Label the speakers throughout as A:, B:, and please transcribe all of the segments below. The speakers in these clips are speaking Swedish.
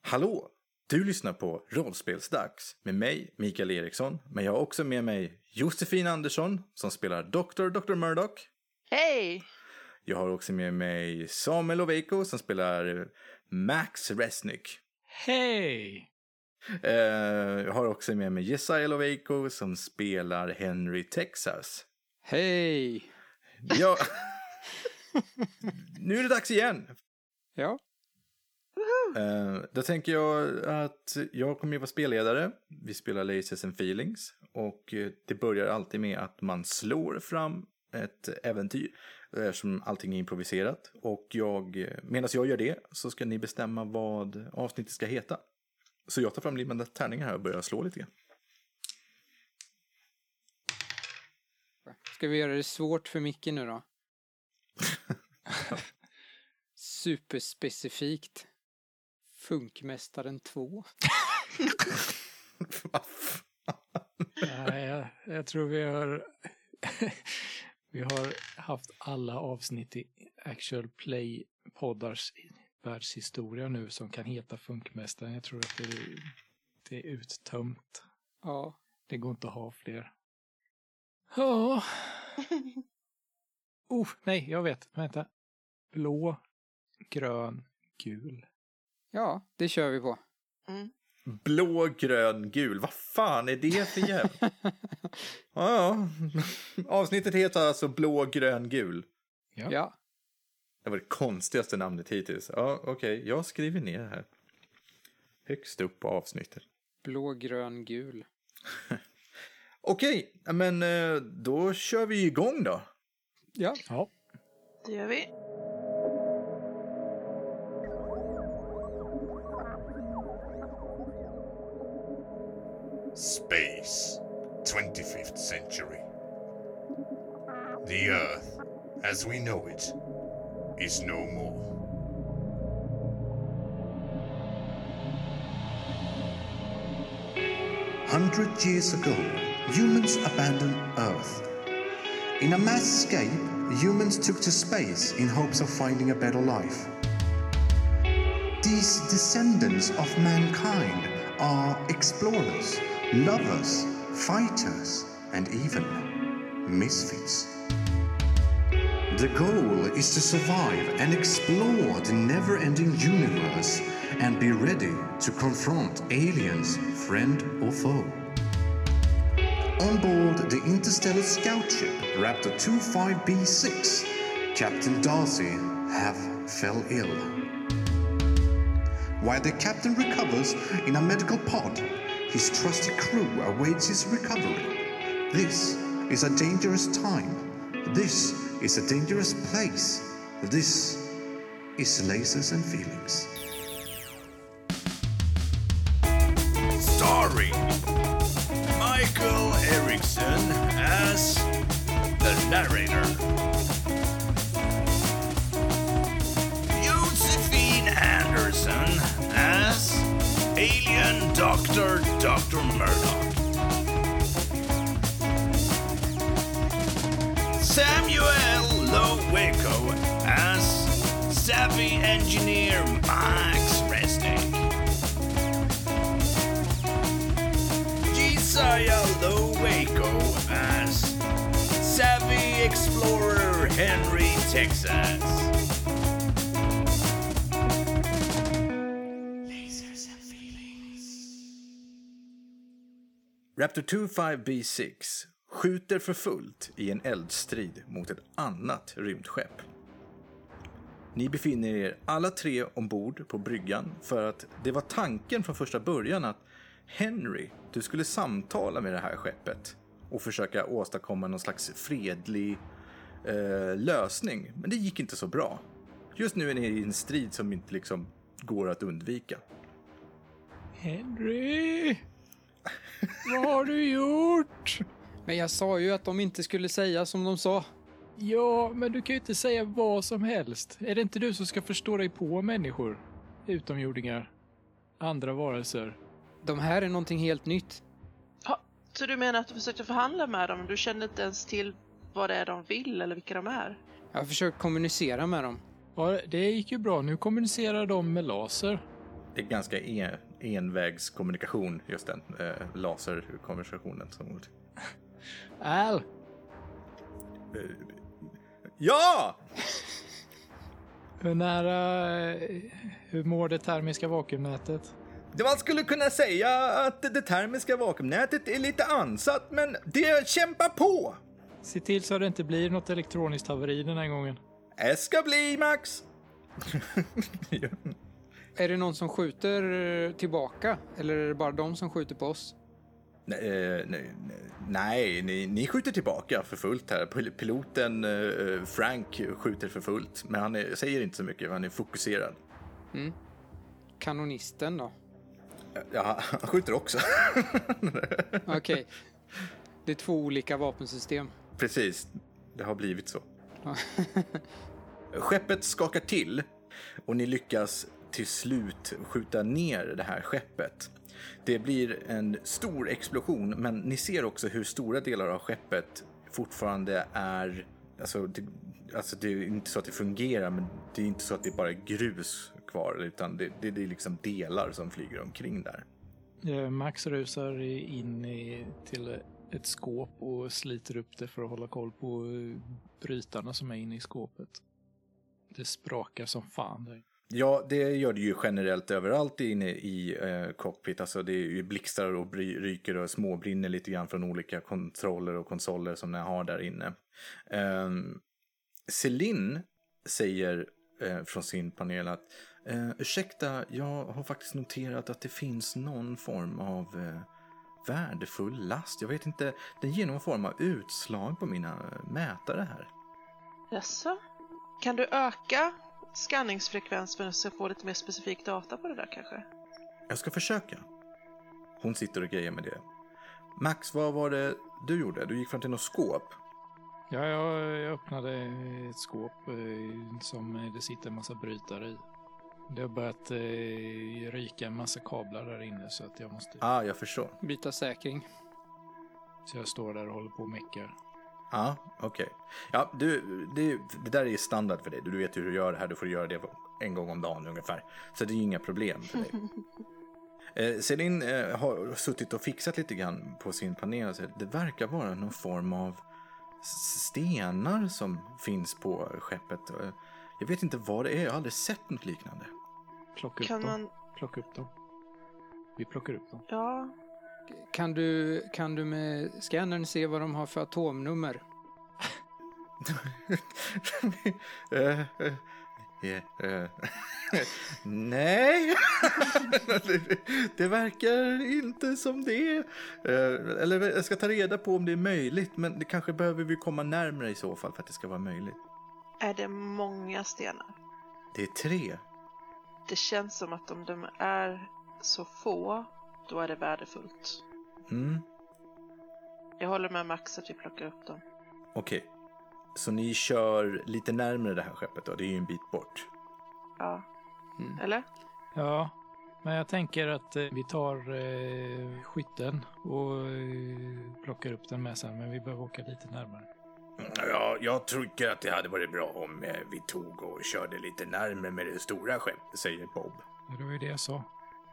A: Hallå! Du lyssnar på Rollspelsdags med mig, Mikael Eriksson, men jag har också med mig Josefin Andersson som spelar Dr. Dr. Murdoch.
B: Hej!
A: Jag har också med mig Samuel Oveiko som spelar Max Resnick.
C: Hej!
A: Eh, Jag har också med mig Jesaja Loveiko som spelar Henry Texas.
C: Hej!
A: Ja. nu är det dags igen.
C: Ja.
A: Eh, Då tänker jag att jag kommer ju vara spelledare. Vi spelar Lasers and Feelings. Och eh, det börjar alltid med att man slår fram ett äventyr. Eftersom allting är improviserat. Och jag, eh, medan jag gör det så ska ni bestämma vad avsnittet ska heta. Så jag tar fram limmande tärningar här och börjar slå lite grann.
C: Ska vi göra det svårt för Micke nu då? Superspecifikt. Funkmästaren 2.
A: Vad fan?
D: Ja, jag, jag tror vi har, vi har haft alla avsnitt i Actual Play-poddars världshistoria nu som kan heta Funkmästaren. Jag tror att det, det är uttömt.
C: Ja.
D: Det går inte att ha fler. Ja. Oh, nej, jag vet. Vänta. Blå, grön, gul.
C: Ja, det kör vi på.
A: Blå, grön, gul. Vad fan är det för jävla... ja, ja. Avsnittet heter alltså Blå, grön, gul.
D: Ja.
C: Ja.
A: Det var det konstigaste namnet hittills. Ja, okej. Jag skriver ner det här. Högst upp på avsnittet.
C: Blå, grön, gul.
A: Okej, men eh, då kör vi igång då.
C: Ja.
D: Ja.
B: Det gör vi.
E: Space, 25th century. The Earth, as we know it, is no more.
F: Hundred years ago, humans abandoned Earth. In a mass escape, humans took to space in hopes of finding a better life. These descendants of mankind are explorers, lovers, fighters, and even misfits. The goal is to survive and explore the never ending universe and be ready to confront aliens, friend or foe. On board the interstellar scout ship Raptor 25B6, Captain Darcy have fell ill. While the captain recovers in a medical pod, his trusty crew awaits his recovery. This is a dangerous time. This is a dangerous place. This is lasers and feelings.
E: Starring Michael Erickson as the narrator, Josephine Anderson as alien doctor Dr. Murdoch. Samuel Lowico as savvy engineer Max Resnick. Jesiah Lowaco as Savvy Explorer Henry Texas.
A: Raptor 25B6 skjuter för fullt i en eldstrid mot ett annat rymdskepp. Ni befinner er alla tre ombord på bryggan för att det var tanken från första början att Henry, du skulle samtala med det här skeppet och försöka åstadkomma någon slags fredlig eh, lösning. Men det gick inte så bra. Just nu är ni i en strid som inte liksom går att undvika.
D: Henry! Vad har du gjort?
C: Men jag sa ju att de inte skulle säga som de sa.
D: Ja, men du kan ju inte säga vad som helst. Är det inte du som ska förstå dig på människor? Utomjordingar. Andra varelser.
C: De här är någonting helt nytt.
B: Ha, så du menar att du försökte förhandla med dem, men du kände inte ens till vad det är de vill eller vilka de är?
C: Jag har försökt kommunicera med dem.
D: Ja, det gick ju bra. Nu kommunicerar de med laser.
A: det är ganska en, envägskommunikation, just den eh, laserkonversationen. Som,
D: Al!
A: ja!
D: Hur nära... eh, Hur mår det termiska vakuumnätet?
A: Man skulle kunna säga att det termiska vakuumnätet är lite ansatt, men det kämpar på!
D: Se till så att det inte blir något elektroniskt haveri den här gången.
A: Det ska bli, Max!
C: Är det någon som skjuter eh, tillbaka? Eller är det bara de som skjuter på oss?
A: Nej, eh, nej, nej, nej ni, ni skjuter tillbaka för fullt här. Pil- Piloten eh, Frank skjuter för fullt, men han är, säger inte så mycket, han är fokuserad.
C: Kanonisten då?
A: Ja, han skjuter också.
C: Okej. Det är två olika vapensystem.
A: Precis, det har blivit så. Skeppet skakar till och ni lyckas till slut skjuta ner det här skeppet. Det blir en stor explosion, men ni ser också hur stora delar av skeppet fortfarande är... Alltså, det, alltså det är inte så att det fungerar, men det är inte så att det är bara grus kvar, utan det, det, det är liksom delar som flyger omkring där.
D: Eh, Max rusar i- in i, till ett skåp och sliter upp det för att hålla koll på eh, brytarna som är inne i skåpet. Det sprakar som fan. där.
A: Ja, det gör det ju generellt överallt inne i eh, cockpit. Alltså det är ju blixtar och bry- ryker och småbrinner lite grann från olika kontroller och konsoler som ni har där inne. Um, Celine säger eh, från sin panel att eh, ursäkta, jag har faktiskt noterat att det finns någon form av eh, värdefull last. Jag vet inte, den ger någon form av utslag på mina eh, mätare här.
B: Jaså? Kan du öka skanningsfrekvensen för att jag ska få lite mer specifik data på det där kanske?
A: Jag ska försöka. Hon sitter och grejer med det. Max, vad var det du gjorde? Du gick fram till något skåp.
D: Ja, jag, jag öppnade ett skåp eh, som eh, det sitter en massa brytare i. Det har börjat eh, ryka en massa kablar där inne så att jag måste...
A: Ah, jag förstår.
C: Byta säkring.
D: Så jag står där och håller på och meckar.
A: Ah, okej. Ja, du, det, det där är standard för dig. Du vet hur du gör det här. Du får göra det en gång om dagen ungefär. Så det är ju inga problem för dig. Eh, Selin eh, har suttit och fixat lite grann på sin panel. och säger, Det verkar vara någon form av s- stenar som finns på skeppet. Eh, Jag vet inte vad det är. Jag har aldrig sett något liknande.
D: Plocka upp
B: Kan
D: dem.
B: man-
D: Plocka upp dem. Vi plockar upp dem.
B: Ja,
C: Kan du, kan du med scannern se vad de har för atomnummer?
A: Eh, eh, eh, eh. Nej, Det- det verkar inte som det. Eh, Eller jag ska ta reda på om det är möjligt, men det kanske behöver vi komma närmare i så fall för att det ska vara möjligt.
B: är det många stenar?
A: Det är tre.
B: Det känns som att om de är så få, då är det värdefullt.
A: Mm.
B: Jag håller med Max att vi plockar upp dem.
A: Okej, så ni kör lite närmare det här skeppet då? Det är ju en bit bort.
B: Ja.
C: Mm.
B: Eller?
D: Ja, men jag tänker att eh, vi tar eh, skytten och eh, plockar upp den med sen. Men vi behöver åka lite närmare.
A: Ja, jag tycker att det hade varit bra om eh, vi tog och körde lite närmare med det stora skeppet, säger Bob.
D: Ja, Det var ju det jag sa.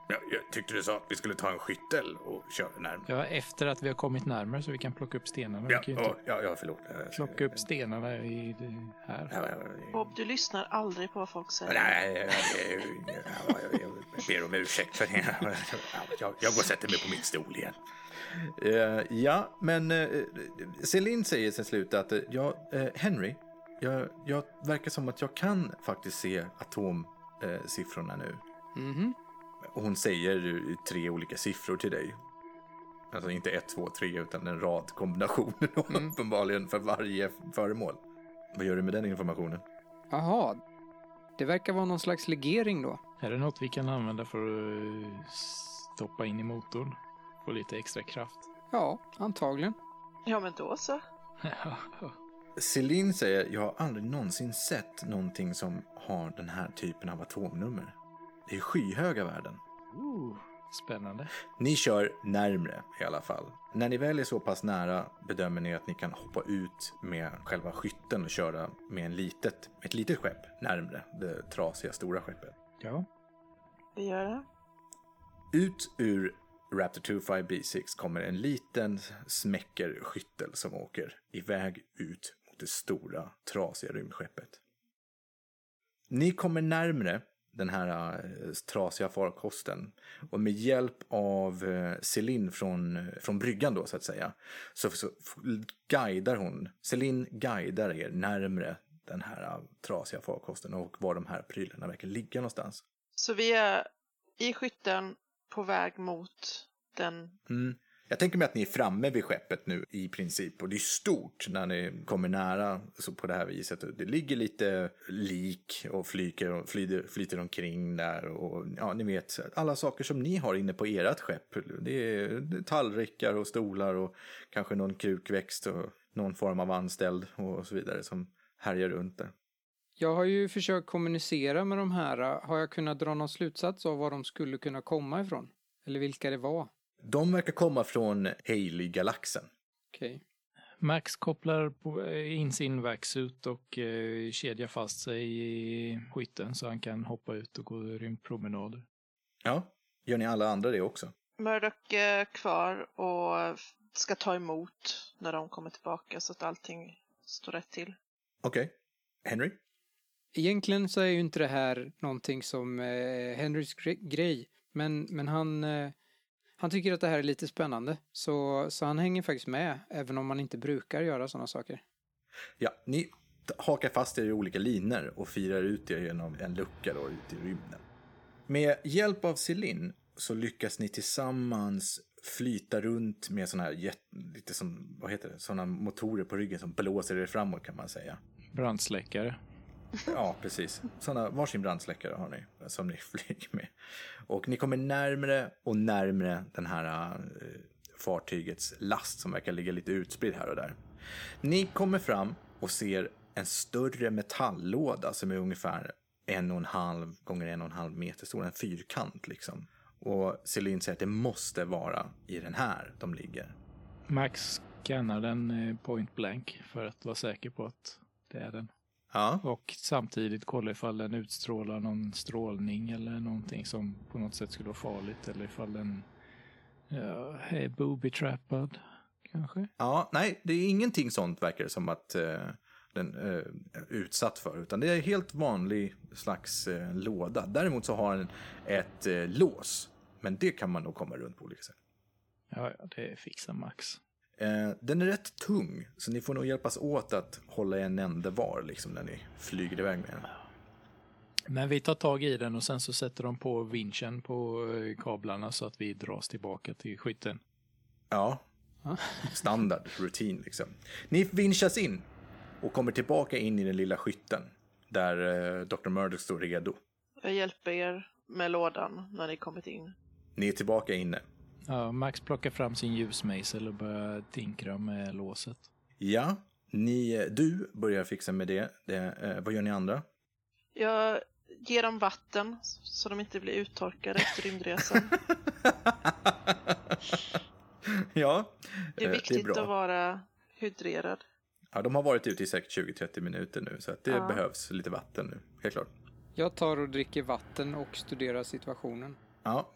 A: Ja, jag tyckte du sa att vi skulle ta en skyttel och köra närmare.
D: Ja, efter att vi har kommit närmare så vi kan plocka upp stenarna.
A: Ja,
D: vi kan ju inte
A: åh, ja, ja förlåt. Eh,
D: plocka upp stenarna i det här.
A: Ja, ja, ja.
B: Bob, du lyssnar aldrig på vad folk säger.
A: Nej, jag, jag, jag, jag ber om ursäkt för det. Jag, jag går och sätter mig på min stol igen. Eh, ja, men eh, Celine säger till slut att eh, ja, eh, Henry, jag, jag verkar som att jag kan faktiskt se atomsiffrorna nu.
C: Mhm.
A: Och Hon säger eh, tre olika siffror till dig. Alltså inte ett, två, tre, utan en rad kombinationer uppenbarligen för varje föremål. Vad gör du med den informationen?
C: Jaha. Det verkar vara någon slags legering då.
D: Är det något vi kan använda för att eh, stoppa in i motorn? Få lite extra kraft.
C: Ja, antagligen.
B: Ja, men då så.
A: Celine säger, jag har aldrig någonsin sett någonting som har den här typen av atomnummer. Det är skyhöga värden.
D: Ooh, Spännande.
A: Ni kör närmre i alla fall. När ni väl är så pass nära bedömer ni att ni kan hoppa ut med själva skytten och köra med en litet, ett litet skepp närmre det trasiga stora skeppet.
D: Ja,
B: Vi gör det.
A: Ut ur Raptor 25B6 kommer en liten smäckerskyttel som åker iväg ut mot det stora trasiga rymdskeppet. Ni kommer närmre den här eh, trasiga farkosten och med hjälp av eh, Celine från, eh, från bryggan då så att säga så, så f- guidar hon, Celine guidar er närmre den här eh, trasiga farkosten och var de här prylarna verkar ligga någonstans.
B: Så vi är i skytten på väg mot den.
A: Mm. Jag tänker mig att ni är framme vid skeppet nu i princip och det är stort när ni kommer nära så på det här viset. Det ligger lite lik och flyker och flyter, flyter omkring där och ja, ni vet alla saker som ni har inne på ert skepp. Det är tallrikar och stolar och kanske någon krukväxt och någon form av anställd och så vidare som härjar runt där.
C: Jag har ju försökt kommunicera med de här. Har jag kunnat dra någon slutsats av var de skulle kunna komma ifrån? Eller vilka det var?
A: De verkar komma från Haley-galaxen.
C: Okej.
D: Max kopplar på, eh, in sin vaxut och eh, kedjar fast sig i skytten så han kan hoppa ut och gå rymdpromenader.
A: Ja, gör ni alla andra det också?
B: Murdoch är kvar och ska ta emot när de kommer tillbaka så att allting står rätt till.
A: Okej. Henry?
C: Egentligen så är ju inte det här någonting som eh, Henrys gre- grej. Men, men han, eh, han tycker att det här är lite spännande. Så, så han hänger faktiskt med, även om man inte brukar göra sådana saker.
A: Ja, ni t- hakar fast er i olika linor och firar ut er genom en lucka då, ut i rymden. Med hjälp av Celine så lyckas ni tillsammans flyta runt med såna här jätt- lite som, vad heter det, såna motorer på ryggen som blåser er framåt kan man säga.
D: Brandsläckare.
A: Ja, precis. Såna, varsin brandsläckare har ni som ni flyger med. Och ni kommer närmre och närmre den här eh, fartygets last som verkar ligga lite utspridd här och där. Ni kommer fram och ser en större metalllåda som är ungefär en och en halv gånger en och en halv meter stor, en fyrkant liksom. Och Celine säger att det måste vara i den här de ligger.
D: Max scannar den eh, point blank för att vara säker på att det är den.
A: Ja.
D: Och samtidigt kolla ifall den utstrålar någon strålning eller någonting som på något sätt skulle vara farligt. Eller ifall den ja, är booby-trappad kanske.
A: Ja, nej, det är ingenting sånt verkar det som att eh, den eh, är utsatt för. Utan det är en helt vanlig slags eh, låda. Däremot så har den ett eh, lås. Men det kan man nog komma runt på olika sätt.
D: Ja, ja, det fixar Max.
A: Eh, den är rätt tung, så ni får nog hjälpas åt att hålla en ände var liksom, när ni flyger iväg med den.
D: Men vi tar tag i den och sen så sätter de på vinschen på eh, kablarna så att vi dras tillbaka till skytten.
A: Ja,
C: Ja.
A: standard, rutin liksom. Ni vinschas in och kommer tillbaka in i den lilla skytten där eh, Dr. Murdoch står redo.
B: Jag hjälper er med lådan när ni kommit in.
A: Ni är tillbaka inne.
D: Ja, Max plockar fram sin ljusmejsel och börjar tinkra med låset.
A: Ja, ni, du börjar fixa med det. det eh, vad gör ni andra?
B: Jag ger dem vatten så de inte blir uttorkade efter rymdresan.
A: ja,
B: Det är
A: eh,
B: viktigt
A: bra.
B: att vara hydrerad.
A: Ja, de har varit ute i säkert 20-30 minuter nu, så att det
B: Ja.
A: behövs lite vatten nu. Helt klart.
C: Jag tar och dricker vatten och studerar situationen.
A: Ja.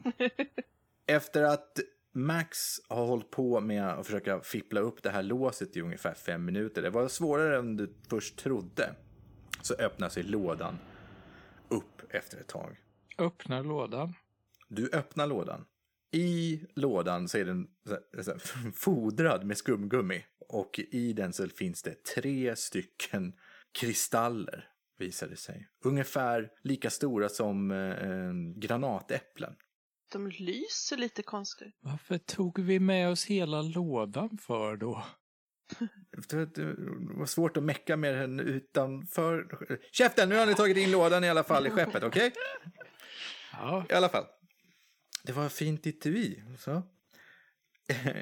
A: Efter att Max har hållit på med att försöka fippla upp det här låset i ungefär fem minuter, det var svårare än du först trodde, så öppnar sig lådan upp efter ett tag.
D: Öppnar lådan.
A: Du öppnar lådan. I lådan så är den så här- så här fodrad med skumgummi. Och i den så finns det tre stycken kristaller, visar det sig. Ungefär lika stora som eh, eh, granatäpplen.
B: De lyser lite konstigt.
D: Varför tog vi med oss hela lådan för då?
A: Det det var svårt att mecka med den utanför... Käften! Nu har ni tagit in lådan i alla fall i skeppet, okej?
D: Ja,
A: I alla fall. Det var fint etui. Så.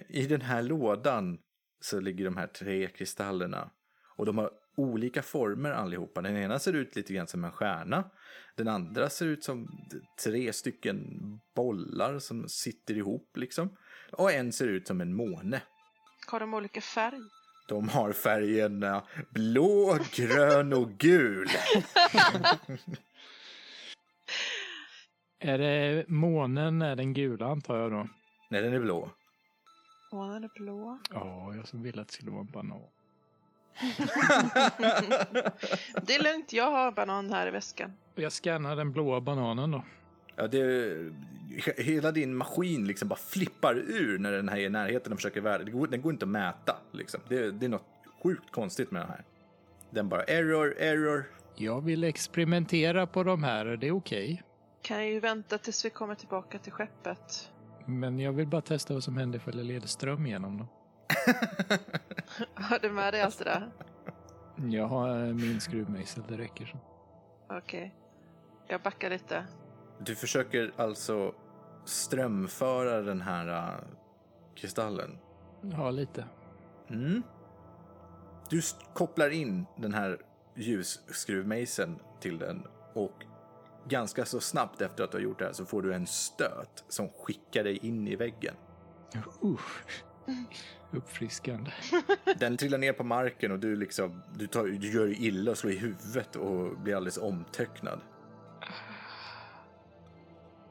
A: I den här lådan så ligger de här tre kristallerna. Och de har olika former allihopa. Den ena ser ut lite grann som en stjärna. Den andra ser ut som tre stycken bollar som sitter ihop liksom. Och en ser ut som en måne.
B: Har de olika färg?
A: De har färgerna blå, grön och gul.
D: Är det månen är den gula antar jag då?
A: Nej, den är blå.
B: Månen är blå.
D: Ja, jag som ville att det skulle vara en banan.
B: Det är lugnt, jag har banan här i väskan.
D: Jag scannar den blåa bananen då.
A: Ja, det, hela din maskin liksom bara flippar ur när den här är i närheten och försöker värda. Det går, den går inte att mäta. Liksom. Det, det är något sjukt konstigt med den här. Den bara error, error.
D: Jag vill experimentera på de här, är det okej?
B: Kan ju vänta tills vi kommer tillbaka till skeppet.
D: Men jag vill bara testa vad som händer ifall det leder ström igenom dem.
B: Har du med dig allt det där?
D: Jag har eh, min skruvmejsel, det räcker så.
B: Okej. Jag backar lite.
A: Du försöker alltså strömföra den här äh, kristallen.
D: Ja, lite.
A: Mm. Du s- kopplar in den här ljusskruvmejseln till den och ganska så snabbt efter att du har gjort det här så får du en stöt som skickar dig in i väggen.
D: Usch. Uppfriskande.
A: Den trillar ner på marken och du, liksom, du, tar, du gör ju illa och slår i huvudet och blir alldeles omtöcknad.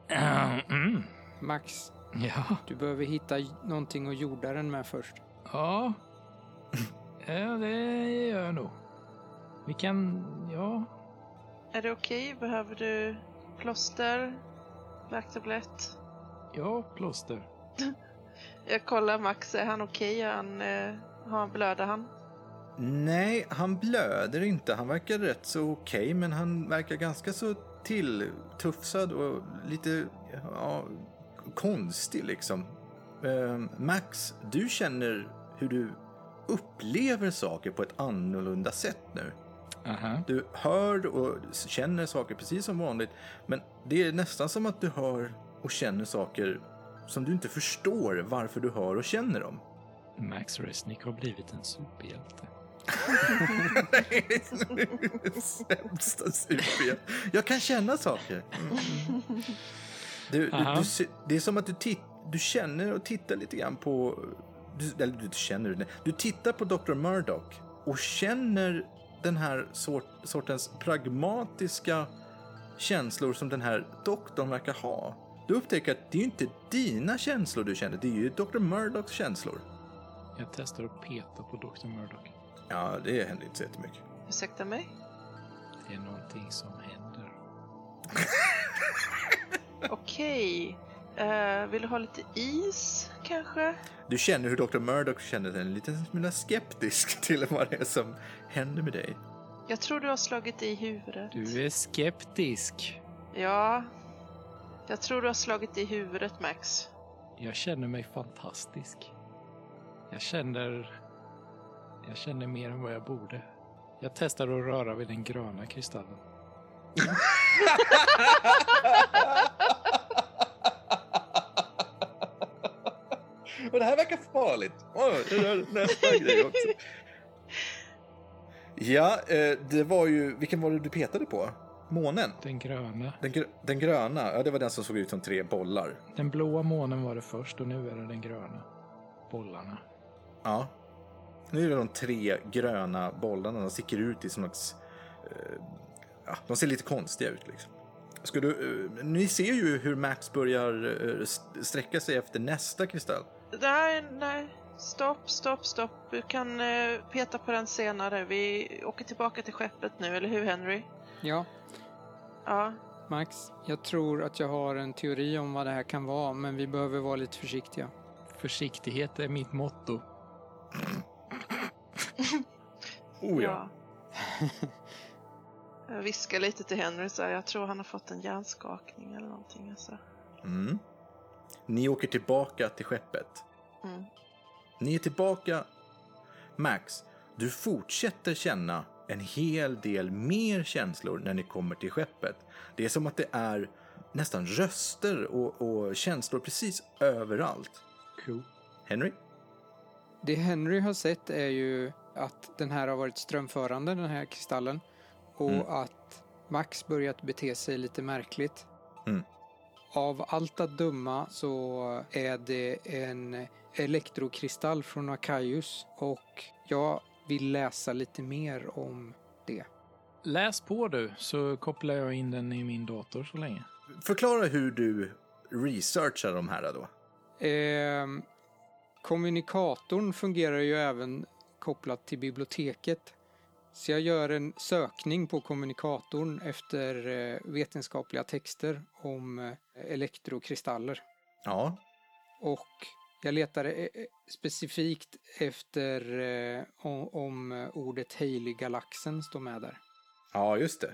D: Mm.
C: Max,
D: Ja.
C: du behöver hitta j- någonting att jorda den med först.
D: Ja. ja, det gör jag nog. Vi kan... Ja.
B: Är det okej? Behöver du plåster? Värktablett?
D: Ja, plåster.
B: Jag kollar Max, är han okej? Är Han, eh, har han blöder han?
A: Nej, han blöder inte. Han verkar rätt så okej, men han verkar ganska så tilltufsad och lite ja, konstig liksom. Ehm, Max, du känner hur du upplever saker på ett annorlunda sätt nu.
D: Aha.
A: Du hör och känner saker precis som vanligt, men det är nästan som att du hör och känner saker som du inte förstår varför du hör och känner dem.
D: Max Resnick har blivit en superhjälte.
A: Nej, nu är det sämsta superhjälp. Jag kan känna saker. Du, du,
D: Aha.
A: du, se- det är som att du, tit, du känner och tittar lite grann på... Du, eller du känner... nej, Du tittar på Dr. Murdoch och känner den här sort, sortens pragmatiska känslor som den här doktorn verkar ha. Du upptäcker att det är ju inte dina känslor du känner, det är ju Dr. Murdochs känslor.
D: Jag testar att peta på Dr. Murdoch.
A: Ja, det händer inte så jättemycket.
B: Ursäkta mig?
D: Det är någonting som händer.
B: Okej. Eh, vill du ha lite is kanske?
A: Du känner hur Dr. Murdoch känner sig en liten smula skeptisk till vad det är som händer med dig.
B: Jag tror du har slagit i huvudet.
D: Du är skeptisk.
B: Ja. Jag tror du har slagit i huvudet Max.
D: Jag känner mig fantastisk. Jag känner... Jag känner mer än vad jag borde. Jag testar att röra vid den gröna kristallen.
A: Och det här verkar farligt. Åh, det där- nästa grej också. Ja, eh, det var ju... Vilken var det du petade på? Månen?
D: Den gröna.
A: Den, gr- den gröna? Ja, det var den som såg ut som tre bollar.
D: Den blåa månen var det först och nu är det den gröna. Bollarna.
A: Ja. Nu är det de tre gröna bollarna. De sticker ut i som slags... eh, ja, de ser lite konstiga ut liksom. Ska du, eh, ni ser ju hur Max börjar eh, st- sträcka sig efter nästa kristall.
B: Nej, nej. Stopp, stopp, stopp. Du kan eh, peta på den senare. Vi åker tillbaka till skeppet nu, eller hur Henry?
C: Ja,
B: Ja.
C: Max, jag tror att jag har en teori om vad det här kan vara, men vi behöver vara lite försiktiga.
D: Försiktighet är mitt motto.
A: Oh
B: Jag viskar lite till Henry så här, jag tror han har fått en hjärnskakning eller någonting. Alltså.
A: Mm. Ni åker tillbaka till skeppet.
B: Mm.
A: Ni är tillbaka. Max, du fortsätter känna en hel del mer känslor när ni kommer till skeppet. Det är som att det är nästan röster och, och känslor precis överallt.
D: Cool.
A: Henry?
C: Det Henry har sett är ju att den här har varit strömförande, den här kristallen. Och
A: Mm.
C: att Max börjat bete sig lite märkligt.
A: Mm.
C: Av allt att döma så är det en elektrokristall från Akaius. Och jag vill läsa lite mer om det.
D: Läs på du, så kopplar jag in den i min dator så länge.
A: Förklara hur du researchar de här då.
C: Ehm, kommunikatorn fungerar ju även kopplat till biblioteket. Så jag gör en sökning på kommunikatorn efter eh, vetenskapliga texter om eh, elektrokristaller.
A: Ja,
C: Och jag letar eh, eh, specifikt efter eh, o- om eh, ordet helig galaxen står med där.
A: Ja, just det.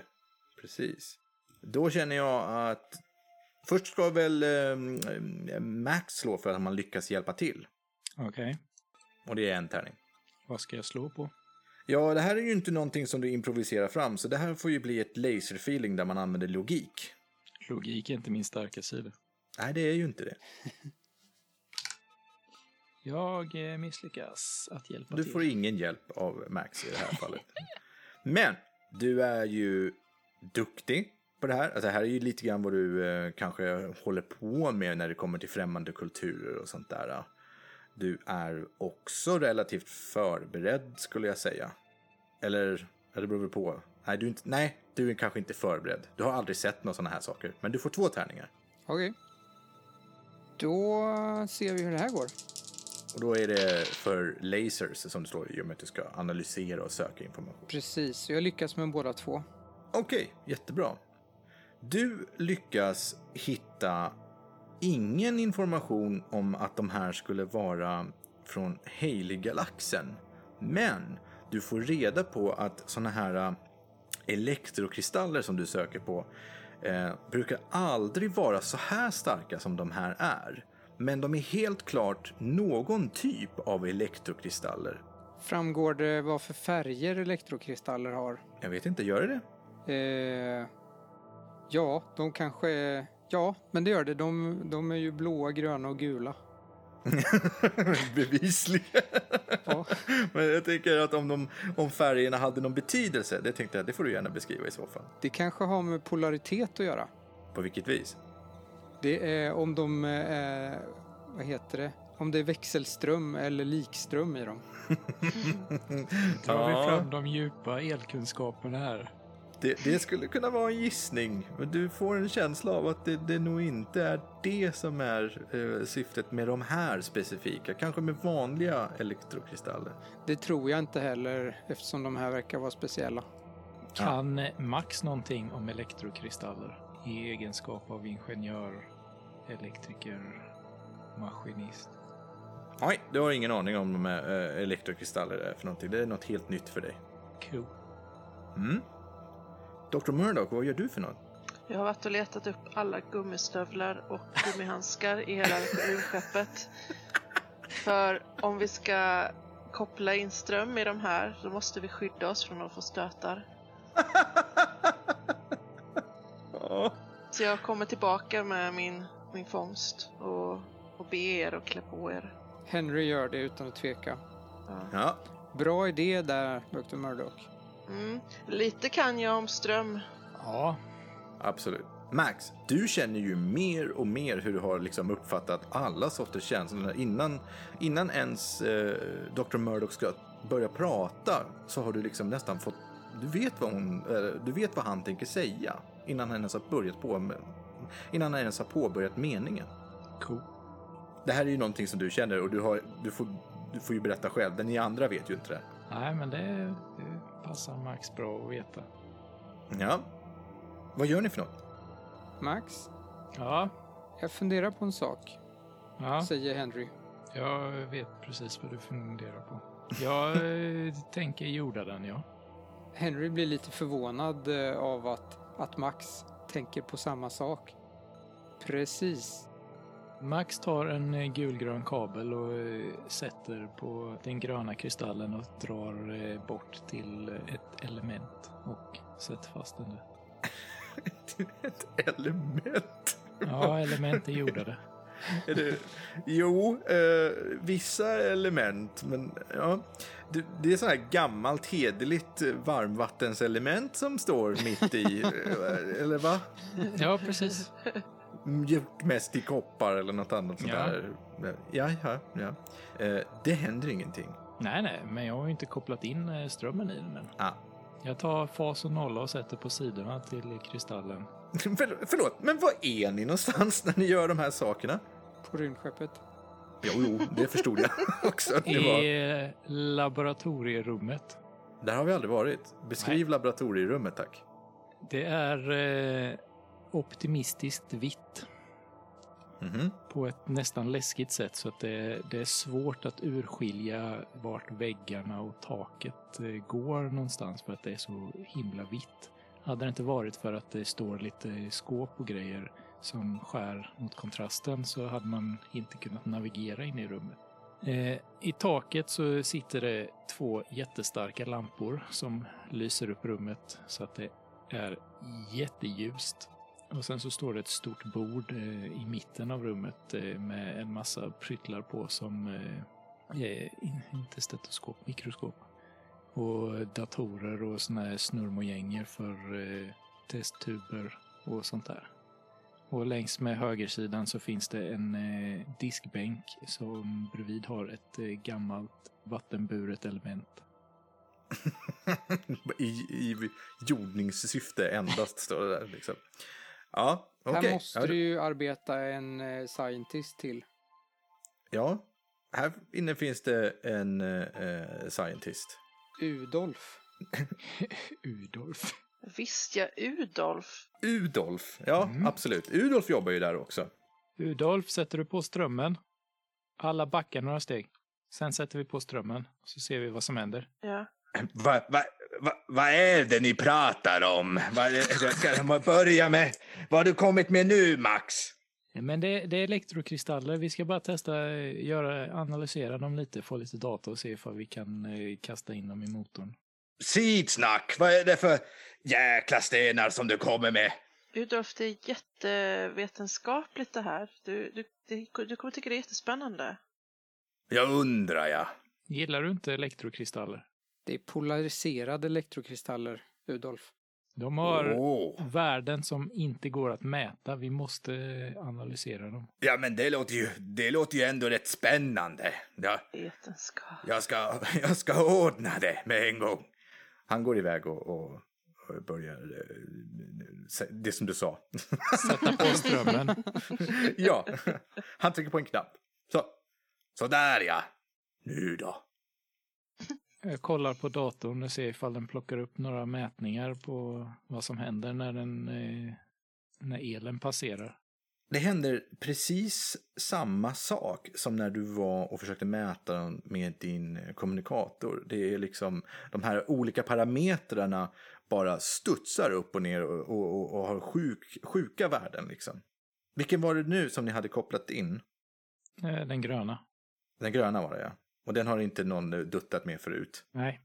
A: Precis. Då känner jag att först ska väl eh, Max slå för att man lyckas hjälpa till.
D: Okej,
A: Och det är en tärning.
D: vad ska jag slå på?
A: Ja, det här är ju inte någonting som du improviserar fram, så det här får ju bli ett laserfeeling där man använder logik.
D: Logik är inte min starka sida.
A: Nej, det är ju inte det.
D: Jag eh, misslyckas att hjälpa
A: Du
D: till.
A: får ingen hjälp av Max i det här fallet. Men du är ju duktig på det här. Alltså, det här är ju lite grann vad du eh, kanske håller på med när det kommer till främmande kulturer och sånt där. Du är också relativt förberedd skulle jag säga. Eller, ja, det beror väl på. Nej du, är inte, nej, du är kanske inte förberedd. Du har aldrig sett några sådana här saker. Men du får två tärningar.
C: Okej. Då ser vi hur det här går.
A: Och då är det för lasers som det står i och med att du ska analysera och söka information.
C: Precis, jag lyckas med båda två.
A: Okej, jättebra. Du lyckas hitta ingen information om att de här skulle vara från Haley-galaxen. Men du får reda på att såna här eh, elektrokristaller som du söker på eh, brukar aldrig vara så här starka som de här är. Men de är helt klart någon typ av elektrokristaller.
C: Framgår det vad för färger elektrokristaller har?
A: Jag vet inte, gör det det?
C: Eh, ja, de kanske... Ja, men det gör det. De, de är ju blåa, gröna och gula.
A: Bevisligen.
C: Ja.
A: Men jag tänker att om, de, om färgerna hade någon betydelse, det tänkte jag, det får du gärna beskriva i så fall.
C: Det kanske har med polaritet att göra.
A: På vilket vis?
C: Det är om de... Eh, vad heter det? Om det är växelström eller likström i dem.
D: Drar vi
A: Ja.
D: fram de djupa elkunskaperna här?
A: Det, det skulle kunna vara en gissning, men du får en känsla av att det, det nog inte är det som är eh, syftet med de här specifika, kanske med vanliga elektrokristaller.
C: Det tror jag inte heller eftersom de här verkar vara speciella.
D: Kan Max någonting om elektrokristaller i egenskap av ingenjör, elektriker, maskinist?
A: Nej, du har ingen aning om de här eh, elektrokristaller är för någonting. Det är något helt nytt för dig.
D: Cool.
A: Mm. Dr. Murdoch, vad gör du för något?
B: Jag har varit och letat upp alla gummistövlar och gummihandskar i hela rymdskeppet. För om vi ska koppla in ström i de här, då måste vi skydda oss från att få stötar. Så jag kommer tillbaka med min, min fångst och, och be er att klä på er.
C: Henry gör det utan att tveka.
A: Ja,
C: Bra idé där, Dr. Murdoch.
B: Mm. Lite kan jag om ström.
D: Ja,
A: Absolut. Max, du känner ju mer och mer hur du har liksom uppfattat alla sorters känslor. Innan, innan ens eh, Dr. Murdoch ska börja prata så har du liksom nästan fått... Du vet, vad hon, eh, du vet vad han tänker säga innan han ens har, börjat på, innan han ens har påbörjat meningen.
D: cool.
A: Det här är ju någonting som du känner och du, har, du, får, du får ju berätta själv. Den ni andra vet ju inte det.
D: Nej, men det, det passar Max bra att veta.
A: Ja. Vad gör ni för något?
C: Max,
D: Ja,
C: jag funderar på en sak,
D: ja.
C: säger Henry.
D: Jag vet precis vad du funderar på. Jag eh, tänker jorda den, ja.
C: Henry blir lite förvånad eh, av att, att Max tänker på samma sak. Precis.
D: Max tar en eh, gulgrön kabel och eh, sätter på den gröna kristallen och drar eh, bort till eh, ett element och sätter fast den där.
A: Ett element.
D: Ja, element är jordade.
A: Är det, jo, eh, vissa element, men ja. Du, det är så här gammalt hederligt eh, varmvattenselement som står mitt i, eh, eller va?
D: Ja, precis.
A: Gjort mest i koppar eller något annat sånt
D: Ja.
A: där. Ja, ja, ja. Eh, det händer ingenting.
D: Nej, nej, men jag har ju inte kopplat in eh, strömmen i den än.
A: Ah.
D: Jag tar fas och nolla och sätter på sidorna till kristallen.
A: För, förlåt, men var är ni någonstans när ni gör de här sakerna?
C: På rymdskeppet.
A: Jo, jo, det förstod jag också. att Det var.
D: I eh, laboratorierummet.
A: Där har vi aldrig varit. Beskriv laboratorierummet, tack.
D: Det är eh, optimistiskt vitt
A: Mhm.
D: på ett nästan läskigt sätt så att det, det är svårt att urskilja vart väggarna och taket eh, går någonstans för att det är så himla vitt. Hade det inte varit för att det står lite skåp och grejer som skär mot kontrasten så hade man inte kunnat navigera in i rummet. Eh, I taket så sitter det två jättestarka lampor som lyser upp rummet så att det är jätteljust. Och sen så står det ett stort bord eh, i mitten av rummet eh, med en massa pryttlar på som eh, eh, in- inte stetoskop, mikroskop. Och datorer och såna här snurrmojänger för eh, testtuber och sånt där. Och längs med högersidan så finns det en eh, diskbänk som bredvid har ett eh, gammalt vattenburet element.
A: I, I jordningssyfte endast, står det där. Liksom. Ja, okej.
C: Här måste
A: Ja,
C: du ju arbeta en eh, scientist till.
A: Ja, här inne finns det en eh, scientist.
C: Udolf.
D: Udolf.
B: Visst ja, Udolf.
A: Udolf, ja
C: Mm.
A: absolut. Udolf jobbar ju där också.
D: Udolf, sätter du på strömmen? Alla backar några steg. Sen sätter vi på strömmen, så ser vi vad som händer.
B: Ja.
G: Vad va, va, vad är det ni pratar om? Vad är- jag ska jag börja med? Vad har du kommit med nu, Max?
D: Ja, Men det, det är elektrokristaller. Vi ska bara testa, eh, göra, analysera dem lite, få lite data och se ifall vi kan eh, kasta in dem i motorn.
G: Sidsnack! Vad är det för jäkla stenar som du kommer med?
B: Udolf, det är jättevetenskapligt det här. Du, du, det, du kommer tycka det är jättespännande.
G: Jag undrar, ja.
D: Gillar du inte elektrokristaller?
C: Det är polariserade elektrokristaller, Udolf.
D: De har
G: Åh.
D: värden som inte går att mäta. Vi måste eh, analysera dem.
G: Ja, men det låter ju, det låter ju ändå rätt spännande. Jag,
B: Vetenskap.
G: jag, ska, jag ska ordna det med en gång.
A: Han går iväg och, och, och börjar... eh, sä- Det som du sa.
D: Sätta på strömmen.
A: ja, han trycker på en knapp. Så,
G: Så där, ja. Nu då.
D: Jag kollar på datorn och ser ifall den plockar upp några mätningar på vad som händer när, den, eh, när elen passerar.
A: det händer precis samma sak som när du var och försökte mäta den med din eh, kommunikator. Det är liksom de här olika parametrarna bara studsar upp och ner och, och, och, och har sjuk, sjuka värden liksom. Vilken var det nu som ni hade kopplat in?
D: Eh, Den gröna.
A: Den gröna var det, ja. Och den har inte någon eh, duttat med förut.
D: Nej.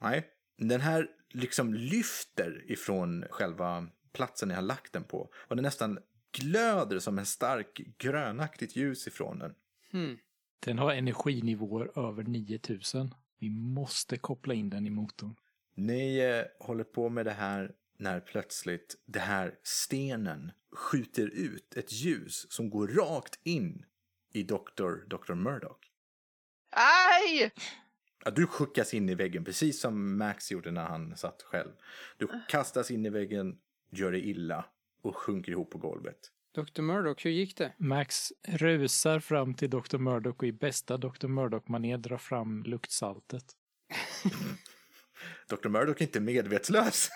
A: Nej. Den här liksom lyfter ifrån själva platsen ni har lagt den på. Och den nästan glöder som en stark grönaktigt ljus ifrån den.
C: Hmm.
D: Den har energinivåer över 9000. Vi måste koppla in den i motorn.
A: Ni eh, håller på med det här när plötsligt det här stenen skjuter ut ett ljus som går rakt in i Dr. Dr. Murdoch.
B: Aj!
A: Ja, du skickas in i väggen, precis som Max gjorde när han satt själv. Du kastas in i väggen, gör dig illa och sjunker ihop på golvet.
C: Dr. Murdoch, hur gick det?
D: Max rusar fram till Dr. Murdoch och i bästa Dr. Murdoch-manér drar fram luktsaltet.
A: Dr. Murdoch är inte medvetslös.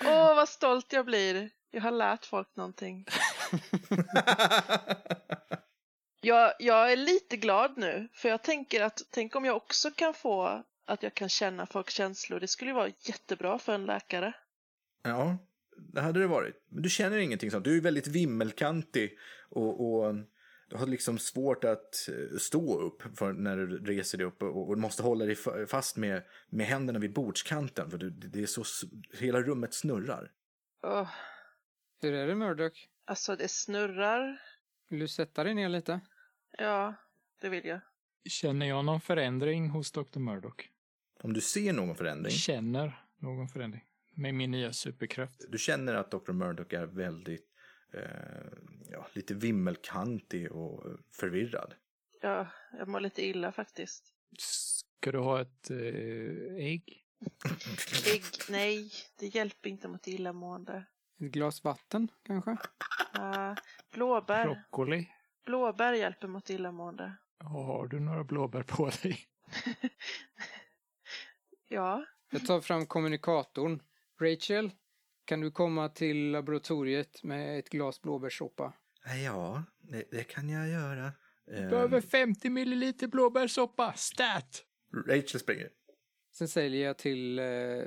B: Åh, vad stolt jag blir. Jag har lärt folk någonting. Jag, jag är lite glad nu, för jag tänker att tänk om jag också kan få att jag kan känna folks känslor. Det skulle ju vara jättebra för en läkare.
A: ja, det hade det varit. Men du känner ingenting sånt. Du är väldigt vimmelkantig och, och du har liksom svårt att eh, stå upp för när du reser dig upp och, och du måste hålla dig fa- fast med, med händerna vid bordskanten för du, det är så, s- hela rummet snurrar.
B: Åh,
C: Hur är det, Murdoch?
B: alltså, det snurrar.
C: Vill du sätta dig ner lite?
B: Ja, det vill jag.
D: Känner jag någon förändring hos Dr. Murdoch?
A: Om du ser någon förändring,
D: Känner någon förändring? Med min nya superkraft.
A: du känner att Dr. Murdoch är väldigt, eh, ja, lite vimmelkantig och förvirrad.
B: Ja, jag mår lite illa faktiskt.
D: Ska du ha ett eh, ägg?
B: Ägg, nej, det hjälper inte mot illamående.
C: Ett glas vatten kanske?
B: Ah, blåbär,
D: Broccoli?
B: blåbär hjälper mot illamående.
D: Och har du några blåbär på dig?
B: Ja,
C: Jag tar fram kommunikatorn. Rachel, kan du komma till laboratoriet med ett glas blåbärssoppa?
A: Ja, det, det kan jag göra. Ehm,
D: Behöver 50 milliliter blåbärssoppa! Stat!
A: Rachel springer.
C: Sen säger jag till eh,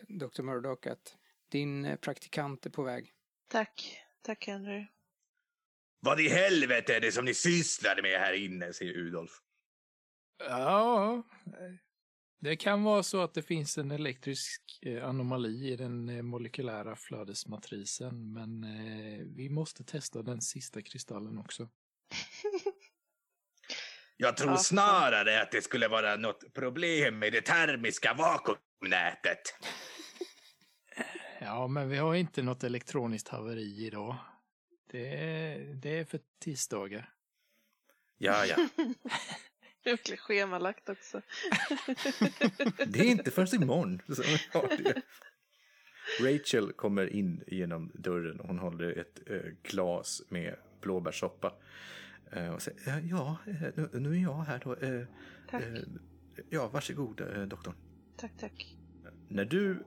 C: Dr. Murdoch att din eh, praktikant är på väg.
B: tack. Tack Henry.
G: Vad i helvete är det som ni sysslar med här inne, säger Udolf.
D: Ja, det kan vara så att det finns en elektrisk eh, anomali i den eh, molekylära flödesmatrisen, men eh, vi måste testa den sista kristallen också.
G: Jag tror
B: Ja, fan.
G: snarare att det skulle vara något problem med det termiska vakuumnätet.
D: Ja, men vi har inte något elektroniskt haveri idag. Det är, det är för tisdagar.
G: Ja, ja.
B: Verkligen schemalagt också.
A: Det är inte förrän imorgon. som vi har det. Rachel kommer in genom dörren. Hon håller ett eh, glas med blåbärssoppa. Eh, och säger, "Eh, ja, eh, nu, nu är jag här då. Eh,
B: Tack,
A: eh, ja, varsågod, eh, doktorn.
B: tack, tack.
A: När du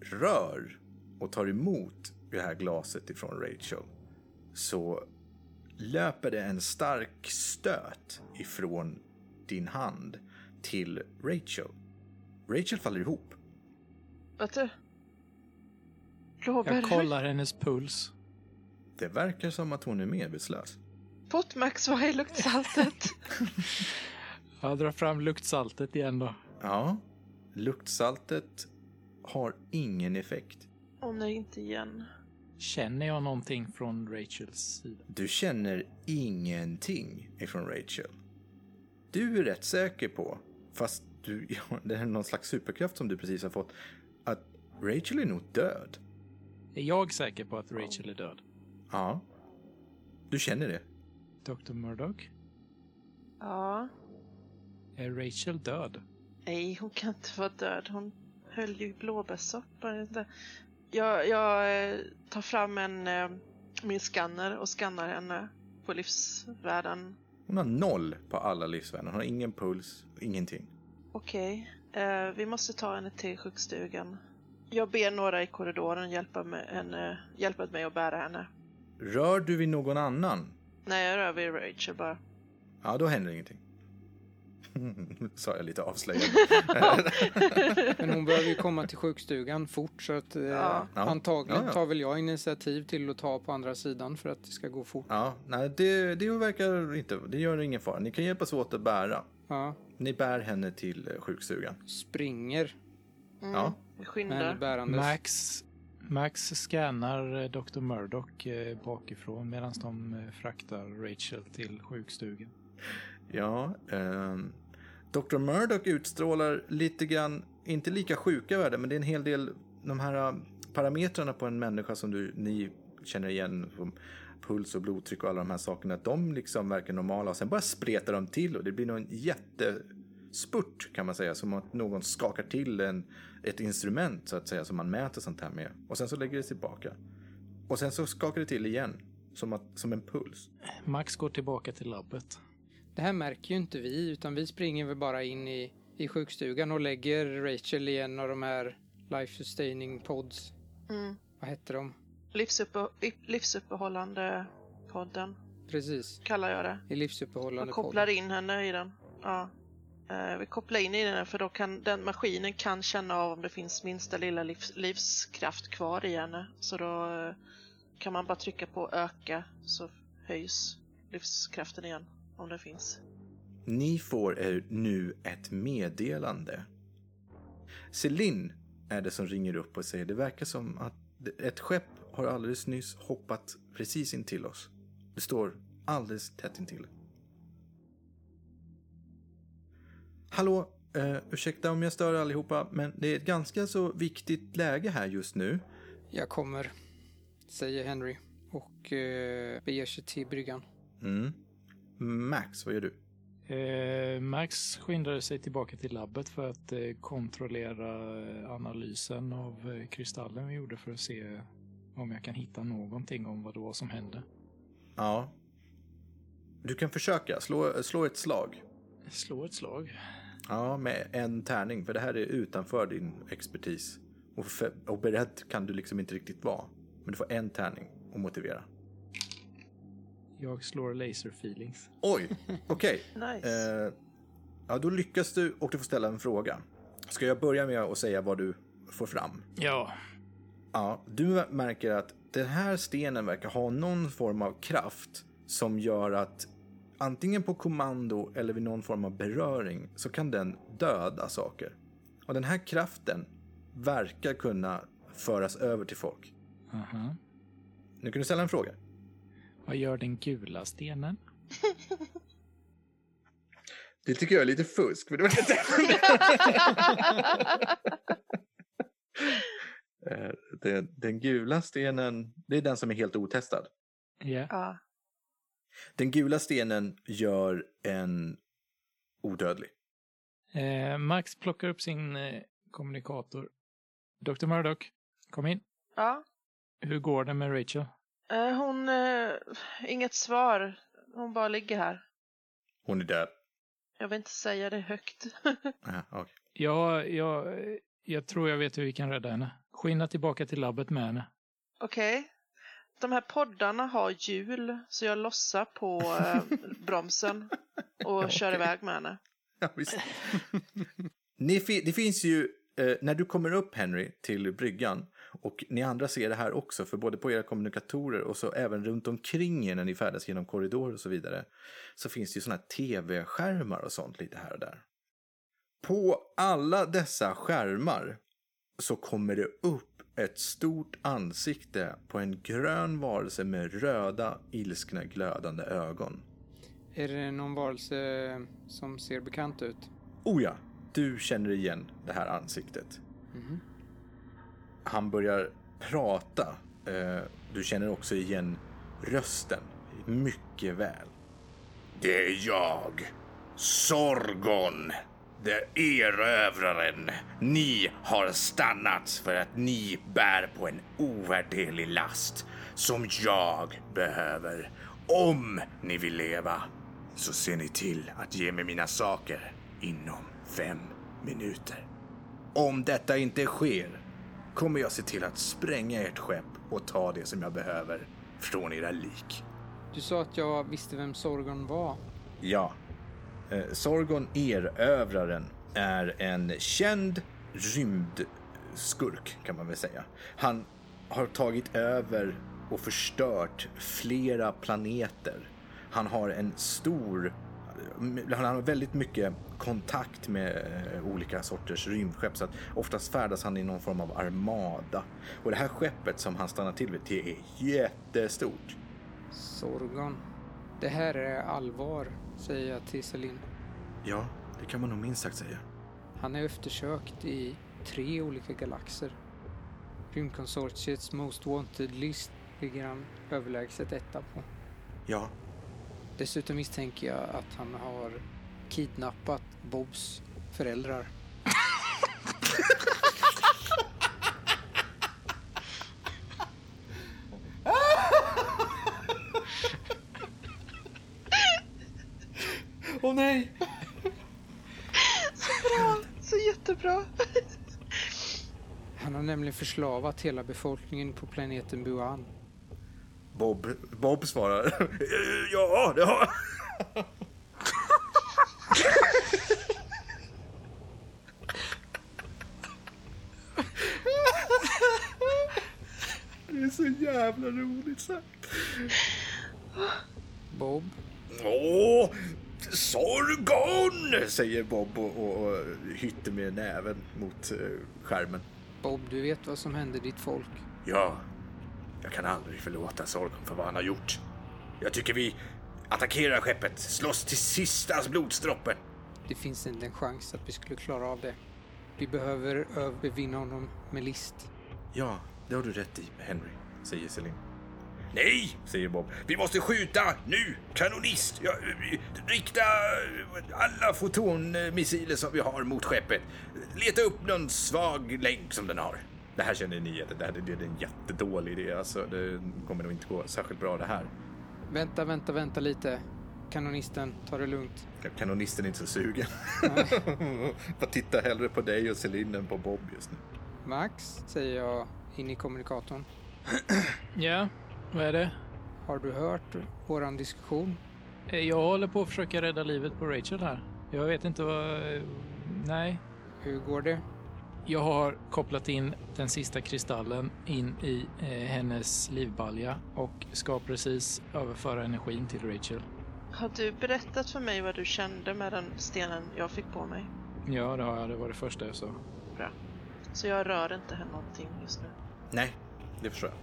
A: rör och tar emot det här glaset ifrån Rachel så löper det en stark stöt ifrån din hand till Rachel. Rachel faller ihop.
B: Vet du? Blåbär.
D: Jag kollar hennes puls.
A: Det verkar som att hon är medvetslös.
B: Pott Max, vad är luktsaltet?
D: Jag drar fram luktsaltet igen då.
A: Ja, luktsaltet har ingen effekt.
B: Åh nej, inte igen.
D: Känner jag någonting från Rachels sida?
A: Du känner ingenting ifrån Rachel. Du är rätt säker på, fast du, ja, det är någon slags superkraft som du precis har fått, att Rachel är nog död.
D: Är jag säker på att Rachel är död?
A: Ja. Du känner det.
D: Dr. Murdoch?
B: Ja.
D: Är Rachel död?
B: Nej, hon kan inte vara död. Hon höll ju i blåbärssoppa. inte? Jag, jag eh, tar fram en, eh, min skanner och skannar henne på livsvärden.
A: Hon har noll på alla livsvärden. Hon har ingen puls, ingenting.
B: Okej, eh, vi måste ta henne till sjukstugan. Jag ber några i korridoren hjälpa, med henne, hjälpa mig att bära henne.
A: Rör du vid någon annan,
B: Nej, jag rör vid Rachel bara.
A: ja då händer ingenting. Sa jag lite avslöjande.
C: Men hon behöver ju komma till sjukstugan fort så att eh,
B: Ja.
C: antagligen
A: Ja, ja.
C: tar väl jag initiativ till att ta på andra sidan för att det ska gå fort.
A: Ja, nej, det, det verkar inte... Det gör ingen fara. Ni kan hjälpas åt att bära.
C: Ja,
A: Ni bär henne till eh, sjukstugan.
C: springer
B: Mm,
A: Ja.
B: Vi
C: med henne
B: skyndar.
C: bärandes.
D: Max, Max scannar eh, Dr. Murdoch eh, bakifrån medan de eh, fraktar Rachel till sjukstugan.
A: Ja, ehm, Dr. Murdoch utstrålar lite grann, inte lika sjuka värden, men det är en hel del de här eh, parametrarna på en människa som du, ni känner igen, som puls och blodtryck och alla de här sakerna, de liksom verkar normala och sen bara spretar de till och det blir nog en jättespurt kan man säga, som att någon skakar till en, ett instrument så att säga som man mäter sånt här med och sen så lägger det tillbaka. Och sen så skakar det till igen, som, att, som en puls.
D: Max går tillbaka till labbet.
C: Det här märker ju inte vi utan vi springer väl bara in i, i sjukstugan och lägger Rachel i en av de här life sustaining pods.
B: Mm.
C: Vad hette de?
B: Livsuppe, livsuppehållande podden
C: Precis,
B: kallar jag det.
C: i livsuppehållande
B: Och kopplar
C: podd.
B: in henne i den. Ja. Eh, vi kopplar in i den för då kan den maskinen kan känna av om det finns minsta lilla livs, livskraft kvar i henne. Så då eh, kan man bara trycka på öka så höjs livskraften igen om den finns.
A: Ni får er nu ett meddelande. Celine är det som ringer upp och säger det verkar som att ett skepp har alldeles nyss hoppat precis in till oss. Det står alldeles tätt intill. Hallå, eh, ursäkta om jag stör allihopa, men det är ett ganska så viktigt läge här just nu.
C: Jag kommer, säger Henry och eh, beger sig till bryggan.
A: Mm. Max, vad gör du?
D: Eh, Max skyndade sig tillbaka till labbet för att eh, kontrollera eh, analysen av eh, kristallen vi gjorde för att se om jag kan hitta någonting om vad det var som hände.
A: Ja. Du kan försöka. Slå, slå ett slag.
D: Slå ett slag.
A: Ja, med en tärning. För det här är utanför din expertis. Och, för, och beredd kan du liksom inte riktigt vara. Men du får en tärning att motivera.
D: Jag slår laser feelings.
A: Oj, okej.
B: Nice.
A: Eh, ja, då lyckas du och du får ställa en fråga. Ska jag börja med att säga vad du får fram?
D: Ja,
A: Ja, du märker att den här stenen verkar ha någon form av kraft som gör att antingen på kommando eller vid någon form av beröring så kan den döda saker. Och den här kraften verkar kunna föras över till folk.
D: Aha.
A: Nu kan du ställa en fråga.
D: Vad gör den gula stenen?
A: Det tycker jag är lite fusk. För det var inte... Eh, den, den gula stenen, det är den som är helt otestad.
D: Ja.
B: Ja.
A: Den gula stenen gör en odödlig.
D: Eh, Max plockar upp sin eh, kommunikator. Dr. Murdoch, kom in.
B: ja.
D: Hur går det med Rachel?
B: Eh, Hon... eh, Inget svar. Hon bara ligger här.
A: Hon är död.
B: Jag vill inte säga det högt.
A: Aha, okej.
D: Ja, jag, jag tror jag vet hur vi kan rädda henne. Skynda tillbaka till labbet med henne.
B: Okej. De här poddarna har hjul, så jag lossar på eh, bromsen och kör iväg med henne.
A: Ja, visst. ni fi- det finns ju, eh, när du kommer upp Henry till bryggan och ni andra ser det här också, för både på era kommunikatorer och så även runt omkring er när ni färdas genom korridorer och så vidare, så finns det ju såna här tv-skärmar och sånt lite här och där. På alla dessa skärmar så kommer det upp ett stort ansikte på en grön varelse med röda, ilskna, glödande ögon.
C: Är det någon varelse som ser bekant ut?
A: Oh ja, du känner igen det här ansiktet. Han börjar prata. Eh, Du känner också igen rösten mycket väl.
E: Det är jag, Sorgon, the erövraren. Ni har stannat för att ni bär på en ovärderlig last som jag behöver. Om ni vill leva så ser ni till att ge mig mina saker inom fem minuter.
A: Om detta inte sker kommer jag se till att spränga ert skepp och ta det som jag behöver från era lik.
C: Du sa att jag visste vem Sorgon var.
A: Ja. Eh, Sorgon Erövraren är en känd rymdskurk kan man väl säga. Han har tagit över och förstört flera planeter. Han har en stor... Han har väldigt mycket kontakt med eh, olika sorters rymdskepp så att oftast färdas han i någon form av armada. Och det här skeppet som han stannar till vid, det är jättestort.
C: Sorgon. Det här är allvar, säger jag till Selin.
A: Ja, det kan man nog minst sagt säga.
C: Han är eftersökt i tre olika galaxer. Rymdkonsortiets Most Wanted-list ligger han överlägset etta på.
A: Ja,
C: Dessutom misstänker jag att han har kidnappat Bobs föräldrar. Åh nej!
B: Så jättebra!
C: Han har nämligen förslavat hela befolkningen på planeten Buan.
A: Bob, Bob svarar. ja, det har Det är så jävla roligt sagt.
C: Bob,
A: Åh, Sorgon! Säger Bob och, och, och hytter med näven mot eh, skärmen.
C: Bob, du vet vad som hände ditt folk.
E: Ja, jag kan aldrig förlåta Sorgon för vad han har gjort. Jag tycker vi attackerar skeppet, slåss till sista blodsdroppen.
C: Det finns inte en chans att vi skulle klara av det. Vi behöver övervinna honom med list.
A: Ja, det har du rätt i, Henry, säger Celine.
E: Nej, säger Bob. Vi måste skjuta nu! Kanonist! Ja, vi- rikta alla fotonmissiler som vi har mot skeppet. Leta upp någon svag länk som den har. Det här känner ni att det här det är en jättedålig idé. Alltså, det kommer nog inte gå särskilt bra det här.
C: Vänta, vänta, vänta lite. Kanonisten, ta det lugnt.
A: Kanonisten är inte så sugen. Vad tittar hellre på dig och Celine än på Bob just nu.
C: Max, säger jag in i kommunikatorn.
D: Ja, vad är det?
C: Har du hört våran diskussion?
D: Eh, Jag håller på att försöka rädda livet på Rachel här. Jag vet inte vad... eh, Nej.
C: Hur går det?
D: Jag har kopplat in den sista kristallen in i eh, hennes livbalja och ska precis överföra energin till Rachel.
B: Har du berättat för mig vad du kände med den stenen jag fick på mig?
D: Ja, det har jag. Det var det första jag sa.
B: Bra. Så jag rör inte henne någonting just nu.
A: Nej, det förstår jag.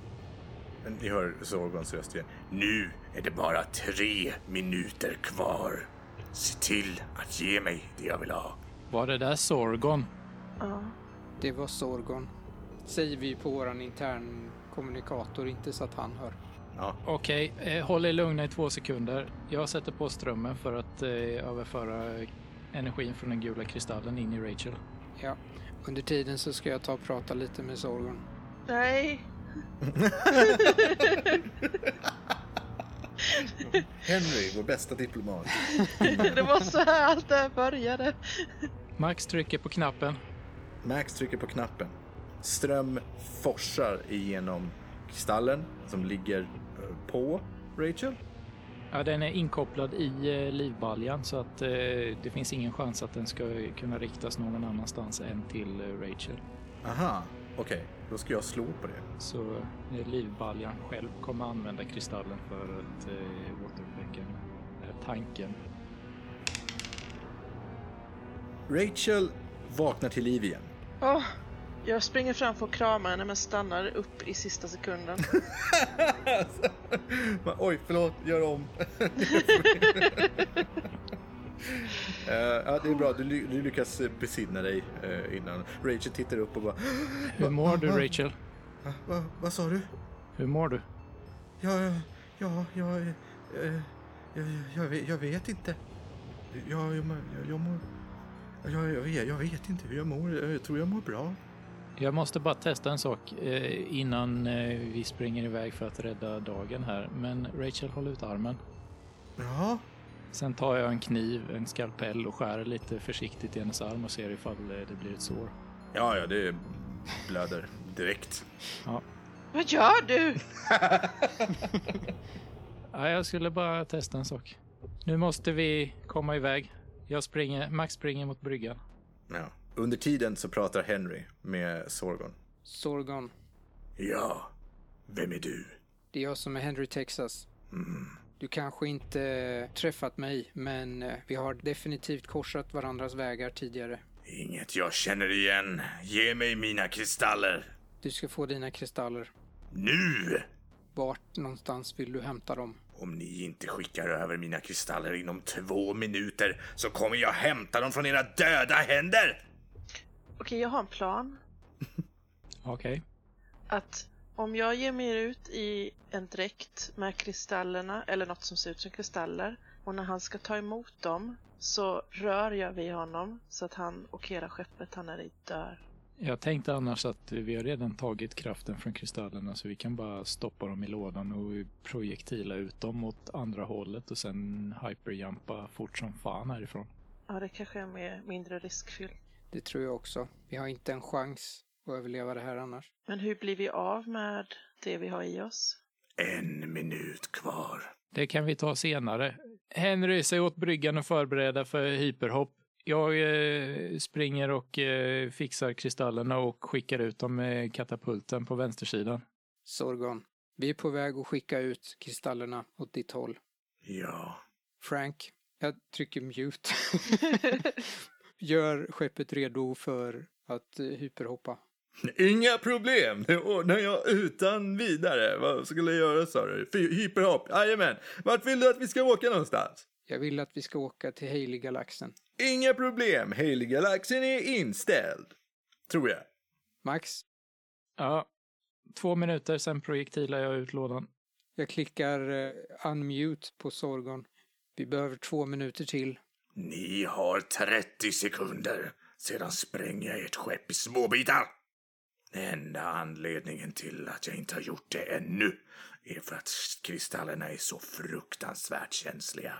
A: Men ni hör Zorgons röst igen.
E: Nu är det bara tre minuter kvar. Se till att ge mig det jag vill ha.
D: Var det där Sorgon?
B: Ja.
C: Det var Sorgon. Säger vi på våran intern kommunikator, inte så att han hör.
D: Okej, eh, håll er lugna i två sekunder. Jag sätter på strömmen för att eh, överföra energin från den gula kristallen in i Rachel.
C: Ja, under tiden så ska jag ta och prata lite med Sorgon.
B: Nej,
A: Henry, vår bästa diplomat.
B: det var så här allt det här började.
D: Max trycker på knappen.
A: Max trycker på knappen. Ström forsar igenom kristallen som ligger eh, på Rachel.
D: Ja, den är inkopplad i eh, livbaljan så att eh, det finns ingen chans att den ska kunna riktas någon annanstans än till eh, Rachel.
A: Aha, okej. Då ska jag slå på det.
D: Så eh, livbaljan själv kommer använda kristallen för att eh, återuppväcka den här tanken.
A: Rachel vaknar till liv igen.
B: Åh, jag springer framför och kramar henne men stannar upp i sista sekunden.
A: Men, Alltså. Oj, förlåt, gör om. Eh, ja, det är bra, du, ly- du lyckas eh, besinna dig eh, innan. Rachel tittar upp och bara...
D: Hur mår du Rachel?
A: Va, va, vad sa du?
D: Hur mår du?
A: Ja, ja, ja, jag, eh, jag, jag, vet- jag vet inte. Jag, jag, mår- jag, jag mår... Jag, jag, vet, jag vet inte hur jag mår. Jag tror jag mår bra.
D: Jag måste bara testa en sak eh, innan eh, vi springer iväg för att rädda dagen här. Men Rachel, håll ut armen.
A: Ja,
D: Sen tar jag en kniv, en skalpell och skär lite försiktigt i hennes arm och ser ifall eh, det blir ett sår.
A: ja, ja det blöder direkt.
B: Vad gör du?
D: Ja, jag skulle bara testa en sak. Nu måste vi komma iväg. Jag springer, Max springer mot bryggan.
A: Ja. Under tiden så pratar Henry med Sorgon.
C: Sorgon,
E: Ja, vem är du?
C: det är jag som är Henry Texas. Du kanske inte eh, träffat mig, men eh, vi har definitivt korsat varandras vägar tidigare.
E: Inget jag känner igen. Ge mig mina kristaller.
C: Du ska få dina kristaller.
E: Nu!
C: Vart någonstans vill du hämta dem?
E: Om ni inte skickar över mina kristaller inom två minuter så kommer jag hämta dem från era döda händer!
B: Okej, jag har en plan.
D: Okej.
B: Att om jag ger mig ut i en dräkt med kristallerna eller något som ser ut som kristaller och när han ska ta emot dem så rör jag vid honom så att han och hela skeppet han är i dör.
D: Jag tänkte annars att vi har redan tagit kraften från kristallerna så vi kan bara stoppa dem i lådan och projektila ut dem åt andra hållet och sen hyperjumpa fort som fan härifrån.
B: Ja, det kanske är mer, mindre riskfyllt.
C: Det tror jag också. Vi har inte en chans att överleva det här annars.
B: Men hur blir vi av med det vi har i oss?
E: En minut kvar.
D: Det kan vi ta senare. Henry, säg åt bryggan att förbereda för hyperhopp. Jag eh, springer och eh, fixar kristallerna och skickar ut dem med katapulten på vänstersidan.
C: Sorgon, vi är på väg att skicka ut kristallerna åt ditt håll.
E: Ja.
C: Frank, jag trycker mute. Gör skeppet redo för att eh, hyperhoppa.
A: Inga problem, det ordnar jag utan vidare. Vad skulle jag göra sa du? Fy- Hyperhopp, jajamän. Vart vill du att vi ska åka någonstans?
C: Jag vill att vi ska åka till Haley-galaxen.
A: Inga problem, Haley-galaxen är inställd. Tror jag.
C: Max,
D: Ja, två minuter, sen projektilar jag ut lådan.
C: Jag klickar eh, unmute på Sorgon. Vi behöver två minuter till.
E: Ni har 30 sekunder, sedan spränger jag ert skepp i småbitar. Enda anledningen till att jag inte har gjort det ännu är för att kristallerna är så fruktansvärt känsliga.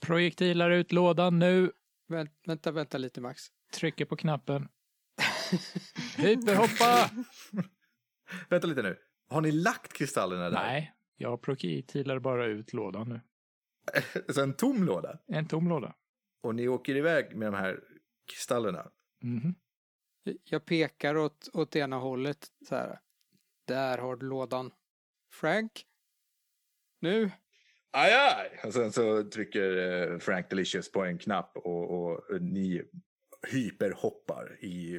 D: Projektilar ut lådan nu.
C: Vänt, vänta, vänta lite Max.
D: Trycker på knappen. Hyperhoppa!
A: Vänta lite nu. Har ni lagt kristallerna där?
D: Nej, jag projektilar bara ut lådan nu.
A: Så Alltså en tom låda?
D: En tom låda.
A: Och ni åker iväg med de här kristallerna?
D: Mhm.
C: Jag pekar åt, åt ena hållet så här. Där har du lådan. Frank? Nu?
A: Aj, aj! Och sen så trycker eh, Frank Delicious på en knapp och, och eh, ni hyperhoppar i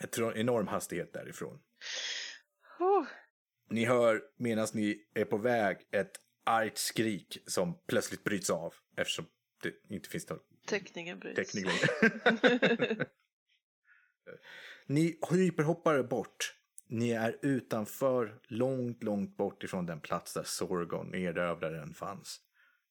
A: ett tro- enorm hastighet därifrån.
B: Oh,
A: Ni hör, medan ni är på väg, ett argt skrik som plötsligt bryts av eftersom det inte finns någon
B: teckningen bryts.
A: täckning längre. ni hyperhoppar bort. Ni är utanför, långt, långt bort ifrån den plats där Sorgon, erövraren, fanns.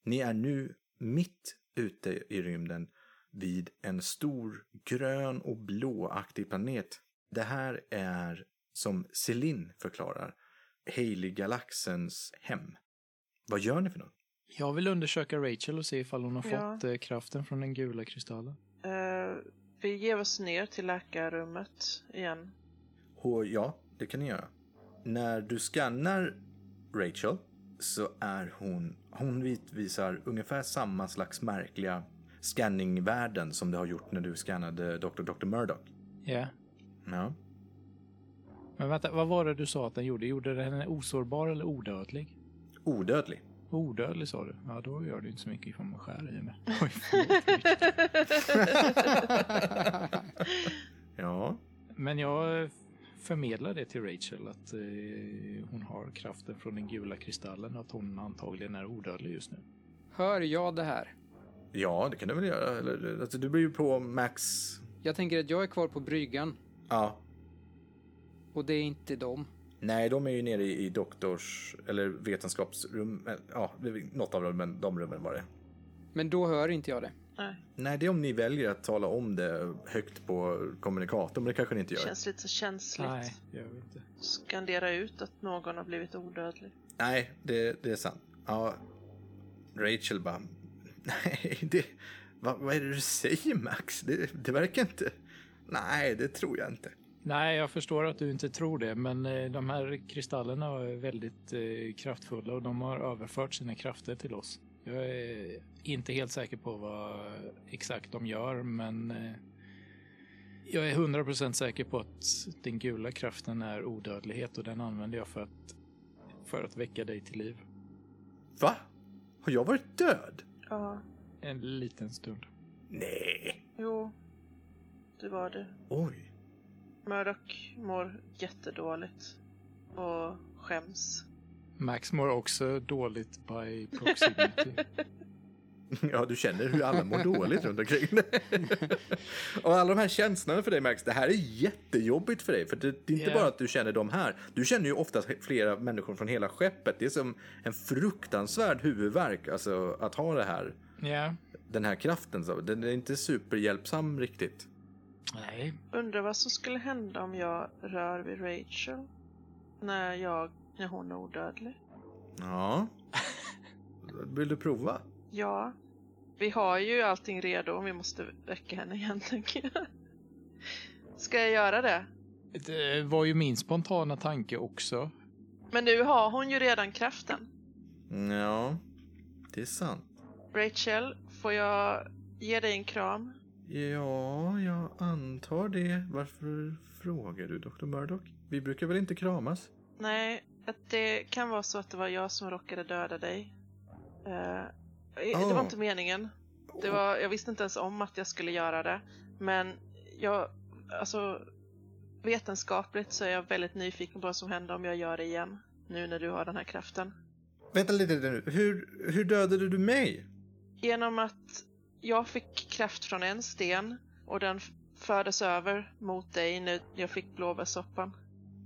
A: Ni är nu mitt ute i rymden vid en stor grön och blåaktig planet. Det här är, som Celine förklarar, Haley-galaxens hem. Vad gör ni för något?
D: Jag vill undersöka Rachel och se ifall hon har
B: Ja.
D: fått eh, kraften från den gula kristallen.
B: Eh, vi ger oss ner till läkarrummet igen.
A: Och ja, det kan ni göra. När du skannar Rachel så är hon... Hon utvisar ungefär samma slags märkliga scanningvärden som du har gjort när du skannade Dr. Dr. Murdoch.
D: Ja.
A: Ja.
D: Men vänta, vad var det du sa att den gjorde? Gjorde den henne osårbar eller odödlig?
A: Odödlig.
D: Odödlig sa du? Ja, då gör det ju inte så mycket ifall man skär i mig. Oj,
A: Ja.
D: Men jag eh, förmedlar det till Rachel att eh, hon har kraften från den gula kristallen och att hon antagligen är odödlig just nu.
C: Hör jag det här?
A: Ja, det kan du väl göra. Eller, alltså, du blir ju på max...
C: Jag tänker att jag är kvar på bryggan
A: Ja.
C: och det är inte dem.
A: Nej, de är ju nere i, i doktors... Eller vetenskapsrum. eh, Ja, det är något av rummen, de rummen var det.
C: Men då hör inte jag det.
B: Nej,
A: Nej, det är om ni väljer att tala om det högt på kommunikatorn, men det kanske ni inte
B: det
A: gör.
B: känns lite så känsligt.
D: Nej, jag vet inte.
B: Skandera ut att någon har blivit odödlig.
A: Nej, det, det är sant. Ja, Rachel bara... Nej, det, vad, vad är det du säger, Max? Det, det verkar inte... Nej, det tror jag inte.
D: Nej, jag förstår att du inte tror det, men eh, de här kristallerna är väldigt eh, kraftfulla och de har överfört sina krafter till oss. Jag är inte helt säker på vad exakt de gör, men eh, jag är 100% säker på att den gula kraften är odödlighet och den använder jag för att, för att väcka dig till liv.
A: Va? Har jag varit död?
B: Ja,
D: En liten stund.
A: Nej.
B: jo. Det var det.
A: Oj.
B: Murdoch mår jättedåligt. Och skäms.
D: Max mår också dåligt by proximity.
A: Ja, du känner hur alla mår dåligt runt omkring dig. Och alla de här känslorna för dig, Max, det här är jättejobbigt för dig. För det, det är inte
D: Ja.
A: bara att du känner de här. Du känner ju oftast flera människor från hela skeppet. Det är som en fruktansvärd huvudvärk, alltså, att ha det här.
D: Ja.
A: den här kraften. Så den är inte superhjälpsam riktigt.
D: Nej.
B: Undrar vad som skulle hända om jag rör vid Rachel. När jag, när hon är odödlig.
A: Ja. Vill du prova?
B: Ja. Vi har ju allting redo om vi måste väcka henne igen tänker jag. Ska jag göra det?
D: Det var ju min spontana tanke också.
B: Men nu har hon ju redan kraften.
A: Ja, det är sant.
B: Rachel, får jag ge dig en kram?
A: Ja, jag antar det. Varför frågar du Dr. Murdoch? Vi brukar väl inte kramas?
B: Nej, att det kan vara så att det var jag som råkade döda dig. Eh, Det
A: Oh.
B: var inte meningen. Det var, jag visste inte ens om att jag skulle göra det. Men jag, alltså vetenskapligt så är jag väldigt nyfiken på vad som händer om jag gör det igen. Nu när du har den här kraften.
A: Vänta lite nu. Hur, hur dödade du mig?
B: Genom att jag fick kraft från en sten och den f- fördes över mot dig när jag fick blåbärssoppan.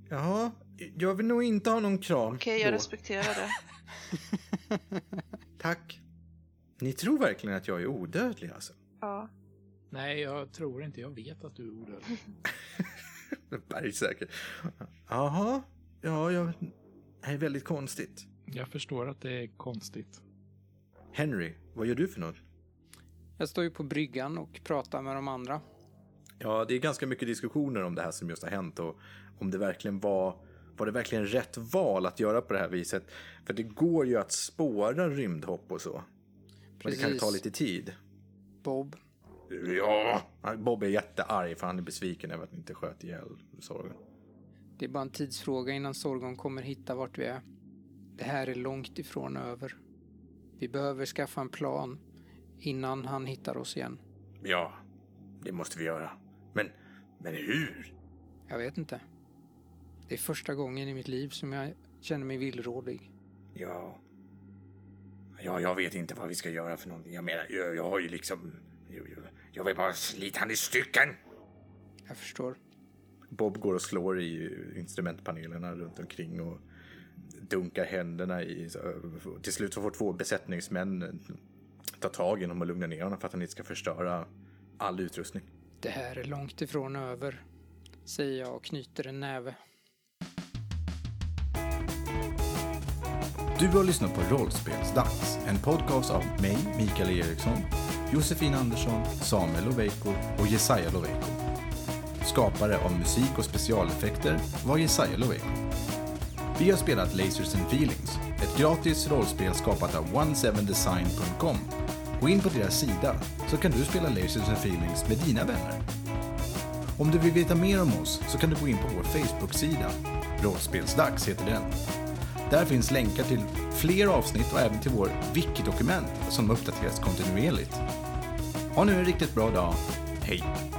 A: Jaha, Jag vill nog inte ha någon kram.
B: Okej, jag
A: då.
B: respekterar det.
A: Tack. Ni tror verkligen att jag är odödlig alltså?
B: Ja.
D: Nej, jag tror inte. Jag vet att du är odödlig.
A: Bergsäker. Jaha. Ja, jag... Det här är väldigt konstigt.
D: Jag förstår att det är konstigt.
A: Henry, vad gör du för något?
C: Jag står ju på bryggan och pratar med de andra.
A: Ja, det är ganska mycket diskussioner om det här som just har hänt och om det verkligen var, var det verkligen rätt val att göra på det här viset. För det går ju att spåra rymdhopp och så. Men det kan ju ta lite tid.
C: Bob.
E: Ja,
A: Bob är jättearg för han är besviken över att ni inte sköt ihjäl sorgen.
C: Det är bara en tidsfråga innan Sorgon kommer hitta vart vi är. Det här är långt ifrån över. Vi behöver skaffa en plan innan han hittar oss igen.
E: ja, det måste vi göra. Men, men hur?
C: Jag vet inte. Det är första gången i mitt liv som jag känner mig villrådig.
E: Ja. Ja, jag vet inte vad vi ska göra för någonting. Jag menar, jag, jag har ju liksom... Jag, jag- jag vill bara slita han i stycken.
C: Jag förstår.
A: Bob går och slår i instrumentpanelerna runt omkring och dunkar händerna i. så- Till slut så får två besättningsmän ta tag i honom och lugna ner honom för att han inte ska förstöra all utrustning.
C: Det här är långt ifrån över, säger jag och knyter en näve.
H: Du har lyssnat på Rollspelsdags, en podcast av mig, Mikael Eriksson, Josefin Andersson, Samuel Loveiko och Jesaja Loveiko. Skapare av musik och specialeffekter var Jesaja Loveiko. Vi har spelat Lasers and Feelings, ett gratis rollspel skapat av 17design.com. Gå in på deras sida så kan du spela Lasers and Feelings med dina vänner. Om du vill veta mer om oss så kan du gå in på vår Facebook-sida. Rollspelsdags heter den. Där finns länkar till fler avsnitt och även till vår wiki-dokument som uppdateras kontinuerligt. Ha nu en riktigt bra dag. Hej!